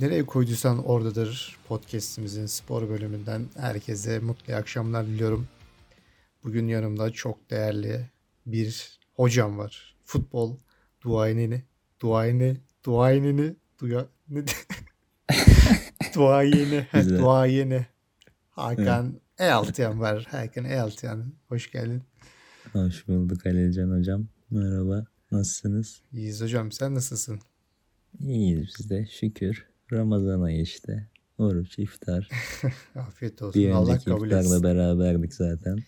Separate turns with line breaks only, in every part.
nereye koyduysan oradadır. Podcast'imizin spor bölümünden herkese mutlu akşamlar diliyorum. Bugün yanımda çok değerli bir hocam var. Futbol duayenini, duayeni, duayenini, duya, ne de- duayeni, heh,
Güzel.
duayeni. Hakan Ealtıyan var. Hakan Ealtıyan. Hoş geldin.
Hoş bulduk Alican hocam. Merhaba. Nasılsınız?
İyiyiz hocam. Sen nasılsın?
İyiyiz biz de şükür. Ramazan ayı işte. Oruç, iftar.
Afiyet olsun.
Bir
Allah
önceki
kabul
iftarla
etsin.
beraberdik zaten.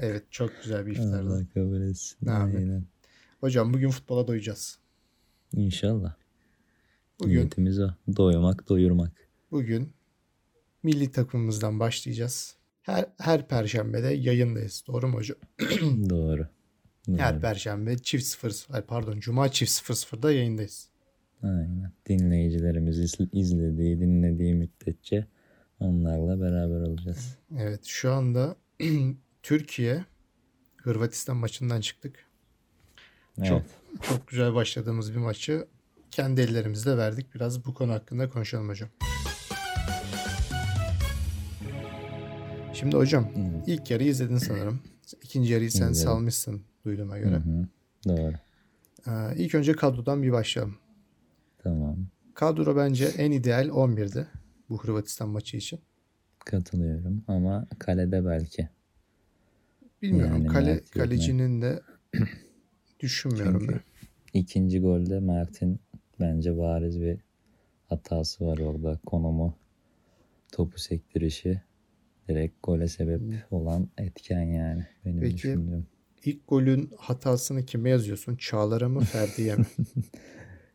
Evet çok güzel bir iftardı.
Allah kabul etsin.
Amin.
Aynen.
Hocam bugün futbola doyacağız.
İnşallah.
Bugün
Niyetimiz o. Doymak, doyurmak.
bugün milli takımımızdan başlayacağız. Her her perşembede yayındayız. Doğru mu hocam?
Doğru. Doğru.
Her perşembe çift sıfır ay pardon cuma çift sıfır sıfırda yayındayız.
Aynen. Dinleyicilerimiz iz- izlediği, dinlediği müddetçe onlarla beraber olacağız.
Evet şu anda Türkiye Hırvatistan maçından çıktık.
Evet.
Çok- Çok güzel başladığımız bir maçı kendi ellerimizle verdik. Biraz bu konu hakkında konuşalım hocam. Şimdi hocam
Evet.
ilk yarıyı izledin sanırım. İkinci yarıyı sen
İzledim.
salmışsın duyduğuma
Hı
göre.
hı. Doğru.
Ee, ilk önce kadrodan bir başlayalım.
Tamam.
Kadro bence en ideal 11'di bu Hırvatistan maçı için.
Katılıyorum ama kalede belki.
Bilmiyorum
Yani
kale
merak
kalecinin de düşünmüyorum
Çünkü-
ben.
İkinci golde Mert'in bence bariz bir hatası var orada. Konumu, topu sektirişi direkt gole sebep olan etken yani benim
Hmm. Peki.
düşündüğüm.
İlk golün hatasını kime yazıyorsun? Çağlar'a mı Ferdi'ye mi?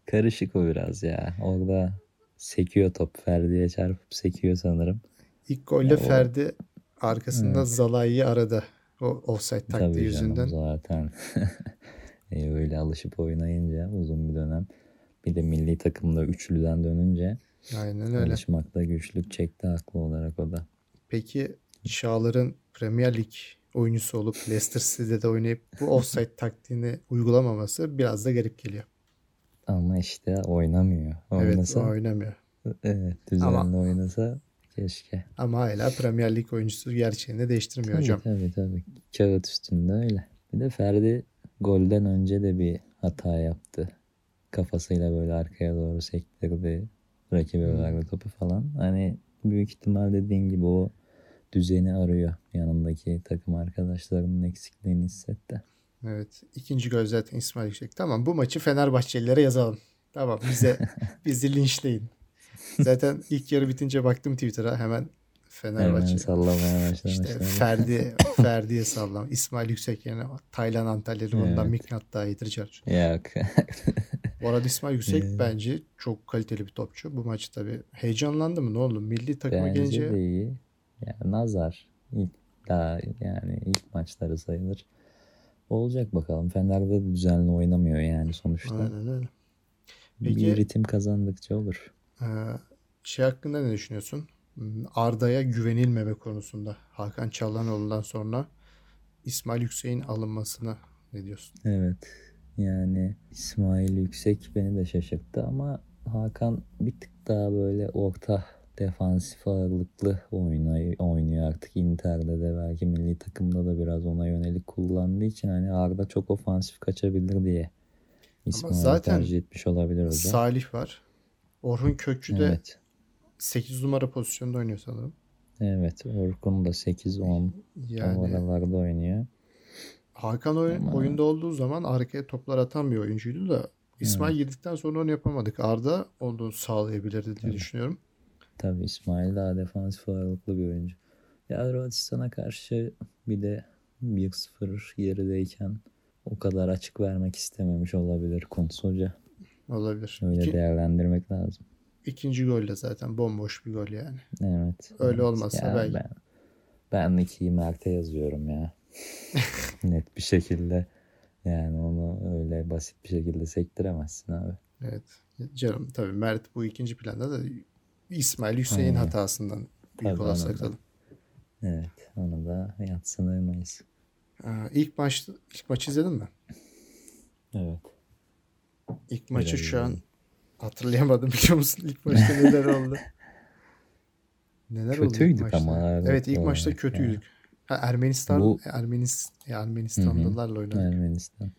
Karışık o biraz ya. Orada sekiyor top. Ferdi'ye çarpıp sekiyor sanırım.
İlk golle
o-
Ferdi arkasında
Evet.
Zalai'yi aradı. O offside taktiği
Tabii
yüzünden.
canım zaten. e, öyle alışıp oynayınca uzun bir dönem. Bir de milli takımda üçlüden dönünce
Aynen öyle.
alışmakta güçlük çekti haklı olarak o da.
Peki Çağlar'ın Premier Lig oyuncusu olup Leicester City'de de oynayıp bu offside taktiğini uygulamaması biraz da garip geliyor.
Ama işte oynamıyor.
Evet
Oynasa, evet,
oynamıyor.
düzenli
Ama-
oynasa keşke.
Ama hala Premier Lig oyuncusu gerçeğini de değiştirmiyor
Tabii,
hocam.
tabii tabii. Kağıt üstünde öyle. Bir de Ferdi golden önce de bir hata yaptı. Kafasıyla böyle arkaya doğru sektirdi. Rakibe
Hmm.
verdi topu falan. Hani büyük ihtimal dediğin gibi o düzeni arıyor. Yanındaki takım arkadaşlarının eksikliğini hissetti.
Evet. İkinci gol zaten İsmail Yüksek. Tamam bu maçı Fenerbahçelilere yazalım. Tamam bize bizi linçleyin. Zaten ilk yarı bitince baktım Twitter'a hemen Fenerbahçe.
Hemen sallamaya
İşte
başlamışlar.
Ferdi Ferdi'ye sallam. İsmail Yüksek yerine Taylan Antalyalı bundan
Evet.
Miknat daha iyidir Çarçur.
Yok.
Bu arada İsmail Yüksek
Evet.
bence çok kaliteli bir topçu. Bu maçı tabii heyecanlandı mı ne oldu? Milli takıma
Bence
gelince
de iyi. Ya, nazar. İlk, daha yani ilk maçları sayılır. Olacak bakalım. Fener'de de düzenli oynamıyor yani sonuçta.
Aynen öyle.
Bir
Peki-
ritim kazandıkça olur.
Ee, şey hakkında ne düşünüyorsun? Hmm, Arda'ya güvenilmeme konusunda Hakan Çalhanoğlu'ndan sonra İsmail Yüksek'in alınmasına ne diyorsun?
Evet. Yani İsmail Yüksek beni de şaşırttı ama Hakan bir tık daha böyle orta defansif ağırlıklı oynay- oynuyor artık. Inter'de de belki milli takımda da biraz ona yönelik kullandığı için hani Arda çok ofansif kaçabilir diye İsmail'i
zaten
tercih etmiş olabilir hocam.
Salih var. Orhun Kökçü de
Evet.
8 numara pozisyonda oynuyor sanırım.
Evet. Orkun da 8-10
Yani
o aralarda oynuyor.
Hakan oy-
Ama-
oyunda olduğu zaman arkaya toplar atan bir oyuncuydu da İsmail girdikten sonra onu yapamadık. Arda onu sağlayabilirdi diye
Evet.
düşünüyorum.
Tabii İsmail daha defansif ağırlıklı bir oyuncu. Ya Hırvatistan'a karşı bir de 1-0 gerideyken o kadar açık vermek istememiş olabilir Kuntz Hoca.
Olabilir.
Öyle
İki,
değerlendirmek lazım.
ikinci gol de zaten bomboş bir gol yani.
Evet.
Öyle
evet.
olmazsa
Ya
belki.
Ben, ben ikiyi Mert'e yazıyorum ya. Net bir şekilde. Yani onu öyle basit bir şekilde sektiremezsin abi.
Evet. Canım tabii Mert bu ikinci planda da İsmail Hüseyin
Aynen.
hatasından büyük
Tabii,
olasılık
anladım.
alalım.
Evet. Onu da yatsınamayız.
Ee, İlk maç ilk maçı izledin mi?
Evet.
İlk maçı
Biraz
şu an
izledim.
Hatırlayamadım biliyor musun? İlk maçta neler oldu? Neler
Kötüydük
oldu ilk maçta?
ama, evet,
Evet ilk
doğru.
maçta kötüydük. Ha, Ermenistan,
Bu-
Ermenis, Ermenistanlılarla oynadık.
Ermenistan.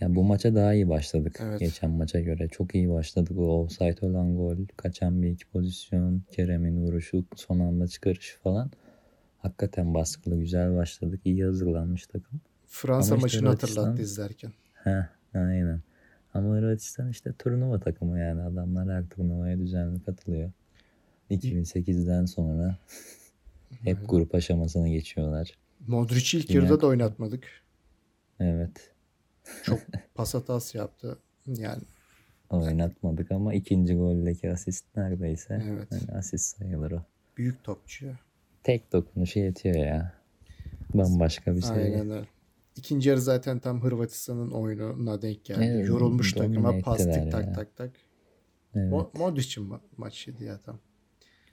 Yani bu maça daha iyi başladık.
Evet.
Geçen maça göre çok iyi başladık. O offside olan gol, kaçan bir iki pozisyon, Kerem'in vuruşu, son anda çıkarışı falan. Hakikaten baskılı güzel başladık. İyi hazırlanmış takım.
Fransa
Ama işte
maçını
Hırvatistan-
hatırlattı izlerken.
Heh, aynen. Ama Hırvatistan işte turnuva takımı yani. Adamlar her turnuvaya düzenli katılıyor. 2008'den sonra hep
Evet.
grup aşamasına geçiyorlar.
Modric'i ilk
Yine-
yarıda da oynatmadık.
Evet.
Çok pas hatası yaptı. Yani
Oynatmadık ama ikinci goldeki asist neredeyse.
Evet.
Hani asist sayılır o.
büyük topçu. ya.
Tek dokunuşu yetiyor ya. Bambaşka bir şey. seviye.
Aynen öyle. İkinci yarı zaten tam Hırvatistan'ın oyununa denk geldi.
Evet,
Yorulmuş
domine
takıma pas
ettiler
tik
ya.
tak tak tak.
Evet,
Mo- Modric'in ma- maçıydı ya tam.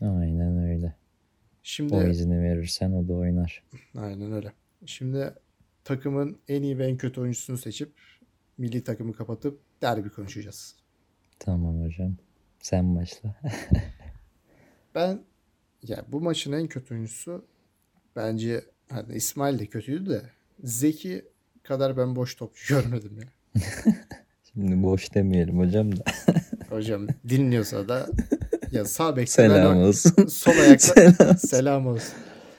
aynen öyle.
Şimdi
O izni verirsen o da oynar.
Aynen öyle. Şimdi takımın en iyi ve en kötü oyuncusunu seçip milli takımı kapatıp derbi konuşacağız.
Tamam hocam. Sen başla.
Ben ya bu maçın en kötü oyuncusu bence hani İsmail de kötüydü de Zeki kadar ben boş topçu görmedim ya.
Şimdi boş demeyelim hocam da.
Hocam dinliyorsa da ya sağ bekten
Selam
ben
olsun.
o- sol ayakla
Selam.
selam olsun.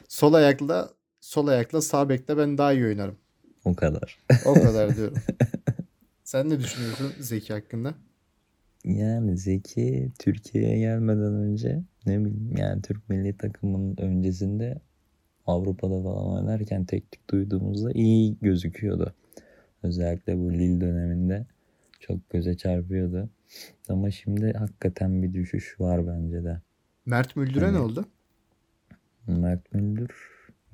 Sol ayakla sol ayakla sağ bekte ben daha iyi oynarım.
O kadar.
O kadar diyorum. Sen ne düşünüyorsun Zeki hakkında?
Yani Zeki Türkiye'ye gelmeden önce ne bileyim yani Türk milli takımının öncesinde Avrupa'da falan oynarken tek tük duyduğumuzda iyi gözüküyordu. Özellikle bu Lille döneminde çok göze çarpıyordu. Ama şimdi hakikaten bir düşüş var bence de.
Mert Müldür'e ne
Hani-
oldu?
Mert Müldür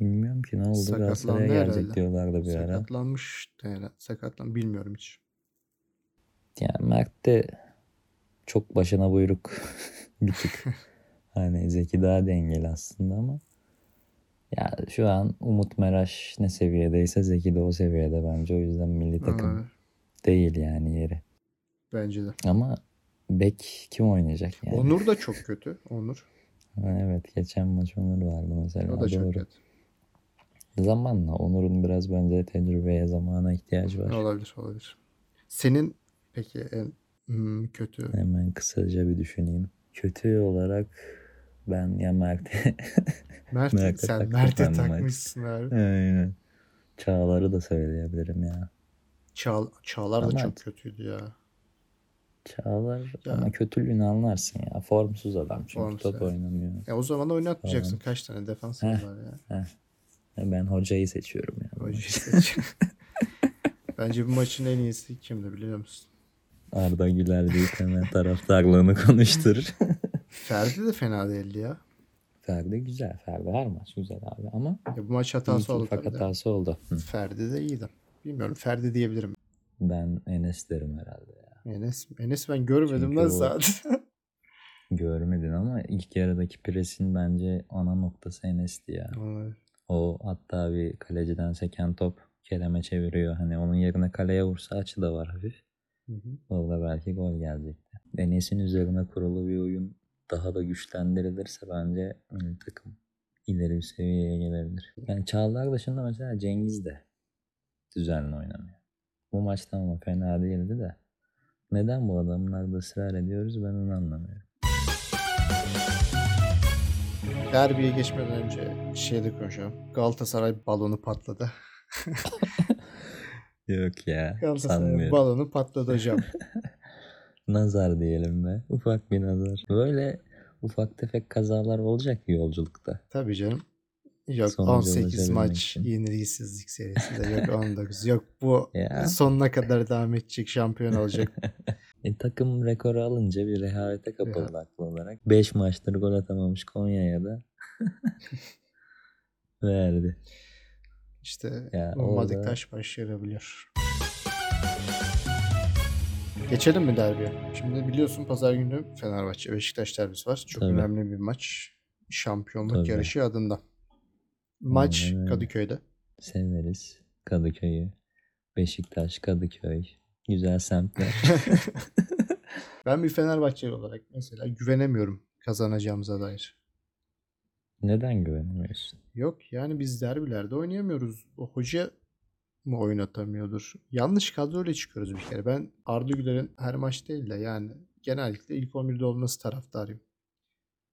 bilmiyorum ki ne oldu
Sakatlandı
Galatasaray'a gelecek
herhalde.
diyorlardı bir ara.
Sakatlanmış yani sakatlan bilmiyorum hiç.
Yani Mert de çok başına buyruk bir tık. Hani Zeki daha dengeli aslında ama ya şu an Umut Meraş ne seviyedeyse Zeki de o seviyede bence. O yüzden milli takım
Ee,
değil yani yeri.
bence de.
Ama bek kim oynayacak yani?
Onur da çok kötü. Onur.
Ha, Evet geçen maç Onur vardı mesela.
O da çok
Doğru.
kötü.
Zamanla Onur'un biraz bence tecrübeye zamana ihtiyacı var.
Olabilir olabilir. Senin peki en hmm, kötü.
Hemen kısaca bir düşüneyim. Kötü olarak ben ya Mert'e
Mert,
Mert'e
sen
taktım
Mert'e
ben de Mert.
takmışsın abi.
Aynen. Çağlar'ı da söyleyebilirim ya.
Çağ, Çağlar da
Ama-
çok kötüydü ya.
Çağlar
Ya.
ama kötülüğünü anlarsın ya. Formsuz adam çünkü
Formsuz,
top
evet.
oynamıyor.
E o zaman da oynatmayacaksın.
Tamam.
Kaç tane defans
Heh.
var ya.
Ya Ben hocayı seçiyorum ya.
Hoca işte- Bence bu maçın en iyisi kimdi biliyor musun?
Arda Güler deyip hemen taraftarlığını konuşturur.
Ferdi de fena değildi ya.
Ferdi güzel. Ferdi her maç güzel abi ama
ya bu maç
iyi ki
hatası oldu.
ufak
tabii de.
hatası oldu. Hı.
Ferdi de iyiydi. Bilmiyorum Ferdi diyebilirim.
Ben Enes derim herhalde ya.
Enes, Enes ben görmedim
Çünkü
lan
o-
zaten.
Görmedin ama ilk yarıdaki presin bence ana noktası Enes'ti ya.
Vay.
O hatta bir kaleciden seken top Kerem'e çeviriyor. Hani onun yerine kaleye vursa açı da var hafif.
Hı hı.
Orada belki gol gelecekti. Enes'in üzerine kurulu bir oyun daha da güçlendirilirse bence milli takım ileri bir seviyeye gelebilir. Yani Çağlar dışında mesela Cengiz de düzenli oynamıyor. Bu maçta ama fena değildi de. Neden bu adamlarda ısrar ediyoruz ben onu anlamıyorum.
Derbiye geçmeden önce şeyde konuşalım. Galatasaray balonu patladı.
Yok ya
Galatasaray
sanmıyorum.
balonu patladı hocam.
Nazar diyelim be. Ufak bir nazar. Böyle ufak tefek kazalar olacak yolculukta.
Tabii canım. Yok
Sonuca
18
ulaşabilmek
maç
için.
yenilgisizlik serisi de yok 19 yok bu
Ya.
sonuna kadar devam edecek şampiyon olacak.
E, takım rekoru alınca bir rehavete kapıldı
Rehavet.
haklı olarak. 5 maçtır gol atamamış Konya'ya da verdi.
İşte
Ya
ummadık
orada-
taş başarabiliyor. Geçelim mi derbiye? Şimdi biliyorsun pazar günü Fenerbahçe Beşiktaş derbisi var. Çok
Tabii.
önemli bir maç. Şampiyonluk
Tabii.
yarışı adında. Maç
Aynen öyle.
Kadıköy'de.
Severiz Kadıköy'ü. Beşiktaş, Kadıköy. Güzel semtler.
Ben bir Fenerbahçeli olarak mesela güvenemiyorum kazanacağımıza dair.
Neden güvenemiyorsun?
Yok yani biz derbilerde oynayamıyoruz. O hoca mı oynatamıyordur? Yanlış kadroyla çıkıyoruz bir kere. Ben Arda Güler'in her maç değil de yani genellikle ilk 11'de olması taraftarıyım.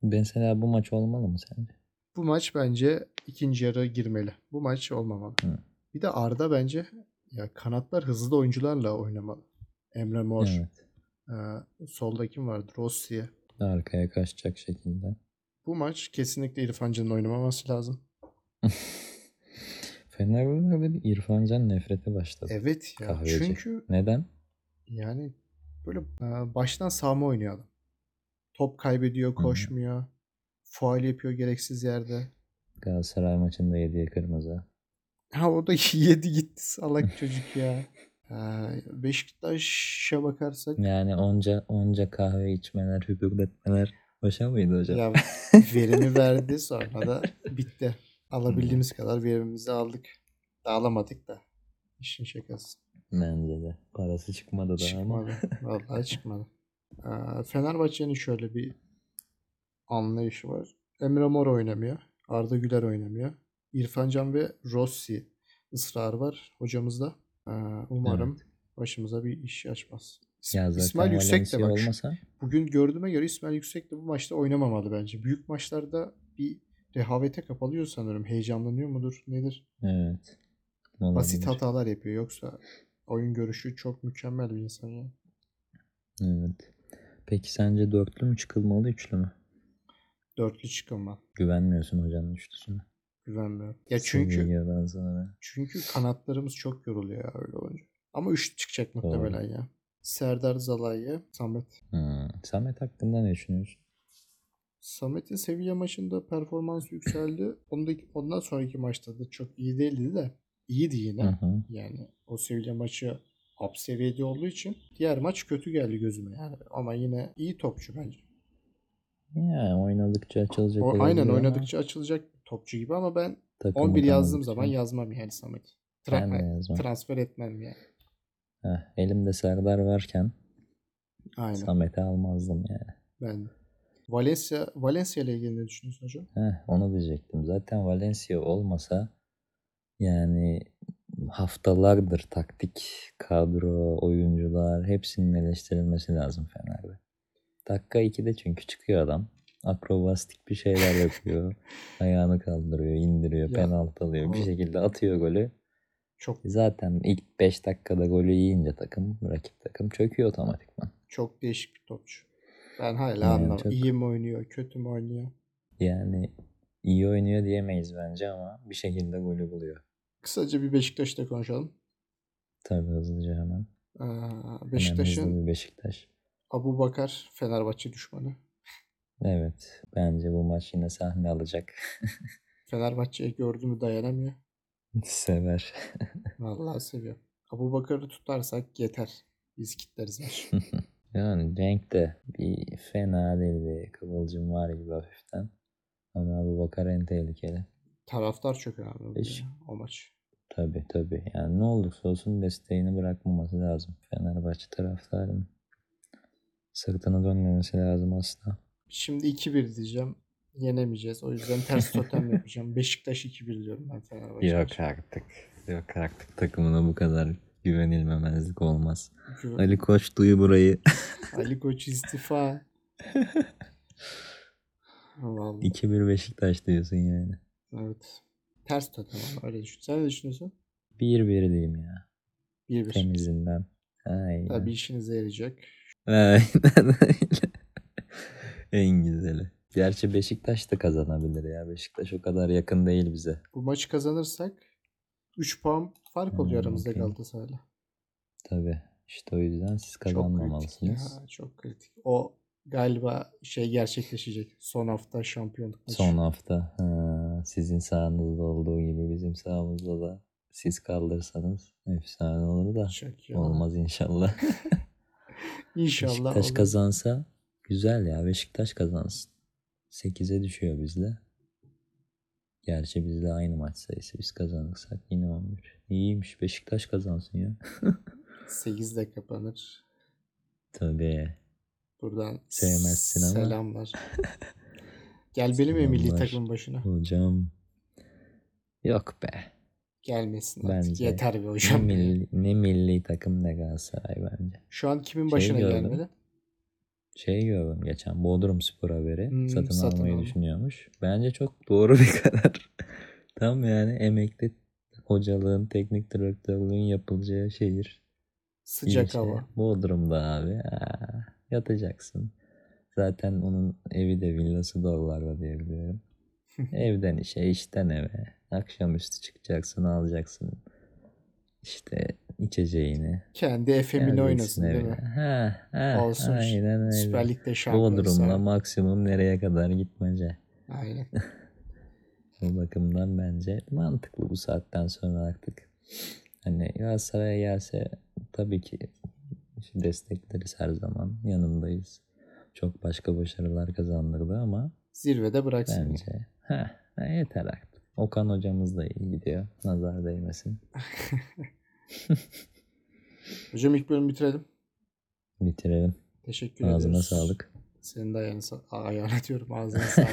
Mesela bu maç olmalı mı sence?
Bu maç bence ikinci yarı girmeli. Bu maç olmamalı.
Hı.
Bir de Arda bence ya kanatlar hızlı oyuncularla oynamalı. Emre Mor,
Evet.
e, solda kim vardı? Rossi'ye.
Arkaya kaçacak şekilde.
Bu maç kesinlikle İrfan Can'ın oynamaması lazım.
Fenerbahçe'de bir İrfan Can nefreti başladı.
Evet ya.
Kahveci.
Çünkü
Neden?
yani böyle e, baştan sağma oynuyor adam. Top kaybediyor, koşmuyor. Faal yapıyor gereksiz yerde.
Galatasaray maçında yediği kırmızı.
Ha o da yedi gitti salak çocuk ya. E, Beşiktaş'a bakarsak
Yani onca onca kahve içmeler, hübürletmeler boşa mıydı hocam?
ya verimi verdi sonra da bitti. Alabildiğimiz kadar verimimizi aldık. Dağılamadık da. İşin şakası.
Bence de. Parası çıkmadı da ama.
Çıkmadı. Vallahi çıkmadı. Ee, Fenerbahçe'nin şöyle bir anlayışı var. Emre Mor oynamıyor. Arda Güler oynamıyor. İrfan Can ve Rossi ısrarı var hocamızda. Ee, umarım başımıza bir iş açmaz. İs-
Ya zaten
İsmail Yüksek de
Valencia
bak. şu-
olmasa
Bugün gördüğüme göre İsmail Yüksek de bu maçta oynamamalı bence. Büyük maçlarda bir rehavete kapalıyor sanırım. Heyecanlanıyor mudur? Nedir?
evet. Olabilir.
Basit hatalar yapıyor. Yoksa oyun görüşü çok mükemmel bir insan ya.
Evet. Peki sence dörtlü mü çıkılmalı üçlü mü?
Dörtlü çıkılma.
Güvenmiyorsun hocanın üçlüsüne.
Güvenmiyorum. Ya
Sevgili
çünkü
Gökhan sana.
çünkü kanatlarımız çok yoruluyor ya öyle olunca. Ama üç çıkacak
Doğru.
muhtemelen ya. Serdar Zalai'ye Samet.
Hmm. Samet hakkında ne düşünüyorsun?
Samet'in Sevilla maçında performansı yükseldi. Ondaki, ondan sonraki maçta da çok iyi değildi de. iyiydi yine.
Hı hı.
Yani o Sevilla maçı up seviyede olduğu için diğer maç kötü geldi gözüme yani. Ama yine iyi topçu bence.
Ya oynadıkça açılacak.
O,
olabilir
aynen
ama
oynadıkça açılacak topçu gibi ama ben
takımı
11 yazdığım
tanıdıkça-
zaman yazmam yani Samet.
ben de
Tra-
yazmam.
transfer etmem yani.
Heh, elimde Serdar varken
Aynen.
Samet'i almazdım yani.
Ben Valencia Valencia ile ilgili ne düşünüyorsun hocam?
Heh, onu diyecektim. Zaten Valencia olmasa yani haftalardır taktik, kadro, oyuncular hepsinin eleştirilmesi lazım Fener'de. Dakika 2'de çünkü çıkıyor adam. Akrobastik bir şeyler yapıyor. Ayağını kaldırıyor, indiriyor,
Ya,
penaltı alıyor. Bir
o-
şekilde atıyor golü.
Çok
Zaten ilk 5 dakikada golü yiyince takım, rakip takım çöküyor otomatikman.
çok değişik bir topçu. Ben hala
Yani
anlamadım.
çok-
İyi mi oynuyor, kötü mü oynuyor?
Yani iyi oynuyor diyemeyiz bence ama bir şekilde golü buluyor.
Kısaca bir Beşiktaş'ta konuşalım.
Tabii hızlıca hemen.
Ee,
Beşiktaş'ın
Beşiktaş'ın
Beşiktaş.
Abu Bakar Fenerbahçe düşmanı.
Evet. Bence bu maç yine sahne alacak.
Fenerbahçe'yi gördü mü dayanamıyor.
Sever.
Vallahi seviyorum. Abu Bakar'ı tutarsak yeter. Biz kitleriz maçı.
Yani renkte bir fena değil bir kıvılcım var gibi hafiften. Ama bu bakar en tehlikeli.
Taraftar çok önemli oluyor
Beş-
ya, o maç.
Tabii tabii. Yani ne olursa olsun desteğini bırakmaması lazım. Fenerbahçe taraftarının sırtını dönmemesi lazım asla.
Şimdi 2-1 diyeceğim. Yenemeyeceğiz. O yüzden ters totem yapacağım. Beşiktaş 2-1 diyorum ben Fenerbahçe. maçı.
artık. Yok artık takımına bu kadar güvenilmemezlik olmaz.
Güven-
Ali Koç duyu burayı.
Ali Koç istifa. Vallahi
2-1 Beşiktaş diyorsun yani.
evet. Ters totem ama öyle düşün. Sen ne düşünüyorsun?
Bir bir diyeyim ya.
1-1.
Temizinden. Aynen.
Tabii işinize yarayacak.
Aynen öyle. en güzeli. Gerçi Beşiktaş da kazanabilir ya. Beşiktaş o kadar yakın değil bize.
Bu maçı kazanırsak 3 puan fark oluyor
Hmm,
aramızda
okey.
Galatasaray'la.
Tabii. İşte o yüzden siz
Çok
kazanmamalısınız.
kritik ya, çok kritik. O galiba şey gerçekleşecek. Son hafta şampiyonluk maçı.
Son hafta ha, sizin sahanızda olduğu gibi bizim sahamızda da siz kaldırsanız efsane olur da
Çok iyi.
olmaz inşallah.
İnşallah
Beşiktaş
olur.
kazansa güzel ya Beşiktaş kazansın. 8'e düşüyor bizle. Gerçi bizle aynı maç sayısı. Biz kazanırsak yine 11. İyiymiş Beşiktaş kazansın ya.
8'de kapanır.
Tabii.
Buradan
Sevmezsin ama.
selamlar. Gel benimle milli
Selamlar.
takım başına.
Hocam yok be.
Gelmesin artık.
Bence.
Yeter be
Ne
hocam.
milli, ne milli takım ne Galatasaray bence.
Şu an kimin
Şey
başına
gördüm.
gelmedi?
Şey gördüm geçen Bodrum Spor haberi
Hmm,
satın,
satın
almayı
alma.
düşünüyormuş. Bence çok doğru bir karar. Tam yani emekli hocalığın, teknik direktörlüğün yapılacağı şehir.
Sıcak
İlçe.
hava.
Bodrum'da abi. Aa, yatacaksın. Zaten onun evi de villası da oralarda diyebiliyorum. Evden işe, işten eve. Akşamüstü çıkacaksın, alacaksın. işte içeceğini.
Kendi efemini oynasın
geleceksin
değil
eve.
mi?
Ha, ha,
Olsun.
Aynen öyle.
Süper Lig'de
Bodrum'la
şampiyonsa.
maksimum nereye kadar gitmece.
Aynen.
O bakımdan bence mantıklı bu saatten sonra artık. Hani Galatasaray'a gelse tabii ki destekleriz her zaman. Yanındayız. Çok başka başarılar kazandırdı ama
Zirvede bıraksın.
bence heh, ha, yeter artık. Okan hocamız da iyi gidiyor. Nazar değmesin.
Hocam ilk bölümü bitirelim.
Bitirelim.
Teşekkür
Ağzına
ediyoruz.
sağlık.
Senin de ayağını, sa- ayağını diyorum ağzına sağlık.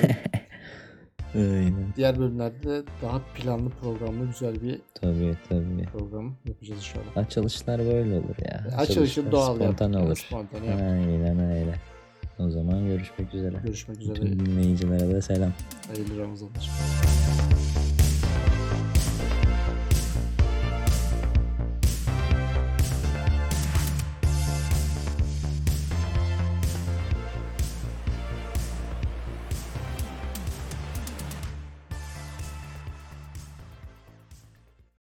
Aynen.
Diğer bölümlerde de daha planlı programlı güzel bir
Tabii tabii.
program yapacağız inşallah.
Açılışlar böyle olur ya.
Açılışı
Açılışlar
doğal
Spontan
yaptık.
olur.
Spontane yaptık.
Aynen öyle. O zaman görüşmek üzere.
Görüşmek üzere.
Tüm dinleyicilere de selam.
Hayırlı Ramazanlar.